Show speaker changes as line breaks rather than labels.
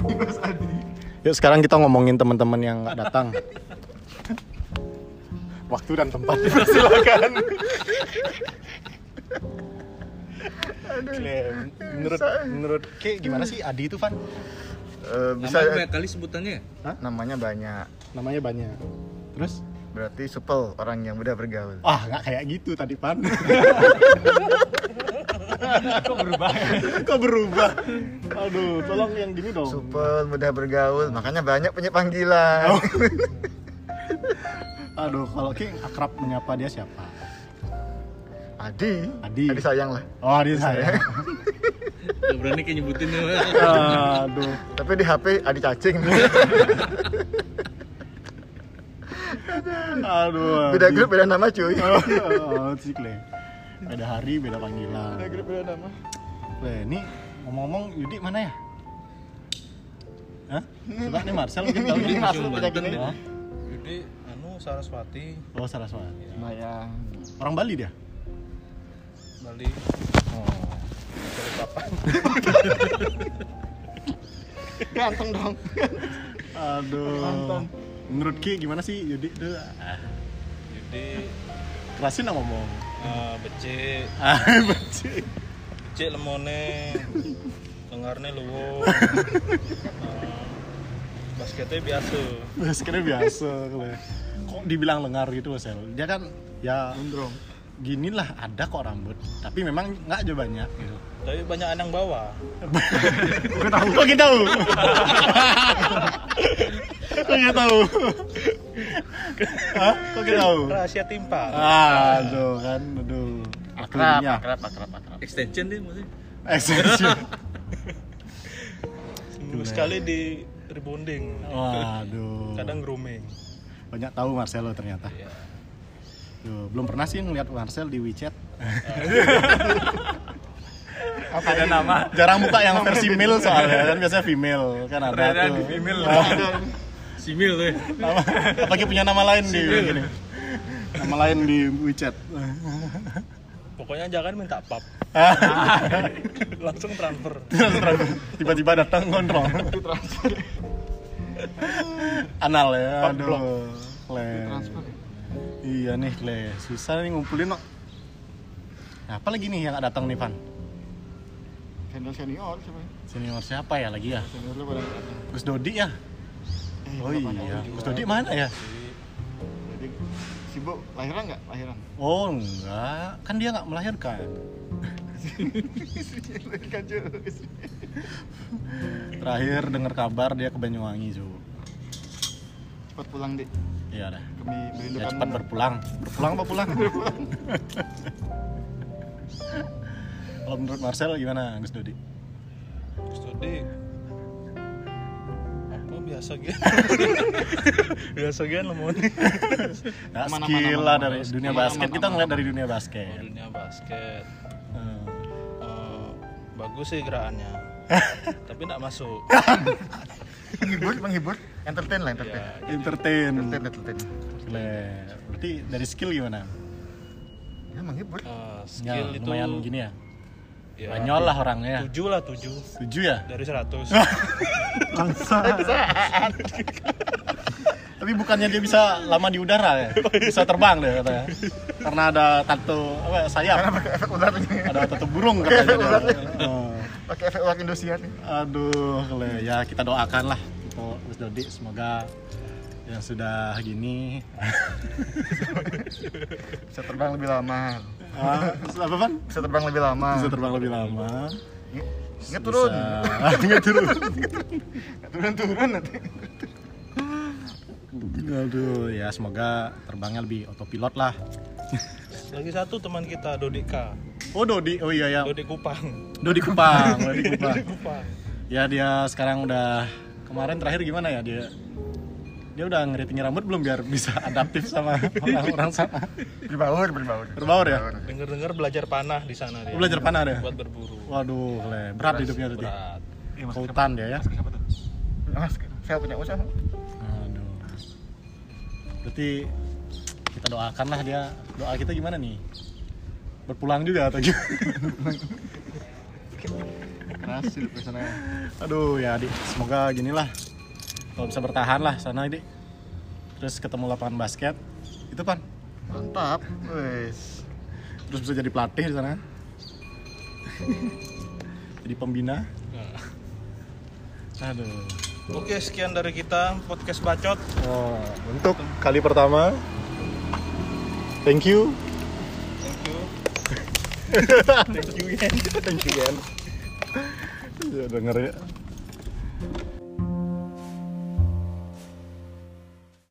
Mas Adi.
Yuk sekarang kita ngomongin teman-teman yang nggak datang. Waktu dan tempat dipersilakan. Clem, menurut menurut Ki, gimana sih Adi itu Van?
Eh, bisa
Namanya banyak ya? kali sebutannya.
namanya banyak.
Namanya banyak. Terus?
Berarti supel orang yang mudah bergaul.
Wah nggak kayak gitu tadi Van.
Kok berubah?
Kok berubah? Aduh, tolong yang gini
Oh.
dong.
Supel, mudah bergaul, makanya banyak punya panggilan.
Aduh, kalau Ki akrab menyapa dia siapa?
Adi.
Adi.
Adi sayang lah.
Oh, Adi saya.
Gak berani kayak nyebutin ya.
Aduh.
Tapi di HP Adi cacing.
Aduh.
beda
Adi.
grup, beda nama cuy.
Oh, si Kle. Beda hari, beda panggilan.
Beda grup, beda nama.
Weh, ini ngomong-ngomong Yudi mana ya? Hah? Coba nih Marcel mungkin tahu
Ini
dia.
masuk
Banten
beda gini.
ya. Jadi anu Saraswati
Oh, Saraswati.
Bayang.
Orang Bali dia?
Bali.
Ganteng dong.
Aduh. Menurut Ki gimana sih Yudi? Duh,
Jadi
kerasin lah ngomong.
eh, becik,
Ah, benci.
becik lemone. Lengarne luwo. Eh, basketnya biasa.
Baskernya biasa Kle. Kok dibilang lengar gitu loh, Sel? Dia kan ya
Gondrong.
ginilah ada kok rambut, tapi memang nggak aja banyak gitu.
Tapi banyak anak bawah.
Gue tahu. Kok kita tahu? Kok kita tahu? Hah? Kok kita tahu?
Rahasia timpang.
Aduh kan, aduh.
Akrab,
Akhirnya.
akrab, akrab, akrab.
Extension deh maksudnya.
Extension.
Seminggu sekali di rebonding.
Waduh.
Kadang grooming.
banyak tahu Marcelo ternyata.
Iya.
Duh, belum pernah sih ngeliat Marcel di WeChat.
Apa ada nama?
Jarang buka yang versi male soalnya kan biasanya female kan ada
Ternyata
tuh.
di female.
Ah,
Simil tuh. ya?
nama- Apalagi punya nama lain di gini. Nama lain di WeChat.
Pokoknya jangan minta pap. Langsung transfer.
tiba-tiba datang kontrol anal ya aduh le iya nih le susah nih ngumpulin no. nah, apa lagi nih yang nggak datang nih Van
Senior senior siapa?
senior siapa ya lagi ya
Senior lu pada nggak datang.
Gus Dodi ya
Eh,
oh
kenapa
iya
nggak ada?
Gus Dodi mana ya
Jadi, sibuk lahiran nggak? Lahiran.
oh enggak kan dia nggak melahirkan
Lahiran Kan, cuy.
terakhir dengar kabar dia ke Banyuwangi Ju
Cepat pulang deh.
iya dah
Kami
ya
merindukanmu.
cepat berpulang berpulang apa pulang kalau menurut Marcel gimana Gus Dodi
Studi apa biasa gitu biasa gitu lemon
Nah,
Aman, aman,
skill
aman,
lah
aman.
dari
Skill,
dunia
aman,
basket
aman,
kita
aman,
ngeliat dari
aman.
dunia basket
dunia basket
Hmm.
Eh, bagus sih gerakannya tapi nggak masuk
Ya,
Menghibur, menghibur. Entertain lah, entertain.
ya
entertain
Entertain, entertain.
Le, berarti dari skill gimana
Ya menghibur.
eh,
ya,
skill itu
lumayan gini ya
ya,
banyol lah orangnya
tujuh lah tujuh
tujuh ya
dari seratus
tapi bukannya dia bisa lama di udara ya bisa terbang deh katanya karena ada tato apa sayap
Efek ular lagi.
ada tato burung katanya dia. Oh.
Pakai efek ular Indosiar nih.
Aduh, Le. ya kita doakan lah untuk Mas Dodi semoga yang sudah gini
Bisa terbang lebih lama.
Ah, apa Van?
Bisa terbang lebih lama.
Bisa terbang lebih lama.
Nggak turun.
Bisa- Nggak turun.
Turun turun nanti.
Aduh, ya semoga terbangnya lebih autopilot lah.
lagi satu teman kita Dodika
Oh Dodi, oh iya ya.
Dodi Kupang
Dodi Kupang, Dodi Kupang.
Dodi Kupang
Ya dia sekarang udah kemarin terakhir gimana ya dia? Dia udah ngeritingin rambut belum biar bisa adaptif sama orang-orang sana.
Berbaur, berbaur.
Berbaur ya?
dengar dengar belajar panah di sana dia
Belajar panah deh.
buat berburu
Waduh, Le. berat hidupnya berarti.
berat
Kautan dia ya.
Siapa tuh? Mas, saya punya usaha.
Aduh. Berarti kita doakanlah dia. Doa kita gimana nih? Berpulang juga atau gimana?
Berhasil pesannya.
Aduh ya adik, semoga ginilah kalau bisa bertahan lah sana adik. Terus ketemu lapangan basket, itu pan.
Mantap. Wes.
Terus bisa jadi pelatih di sana. jadi pembina. Aduh.
Oke, sekian dari kita podcast bacot.
Oh, untuk kali pertama, thank you.
Thank you.
thank you again. thank you again. Ya, dengerin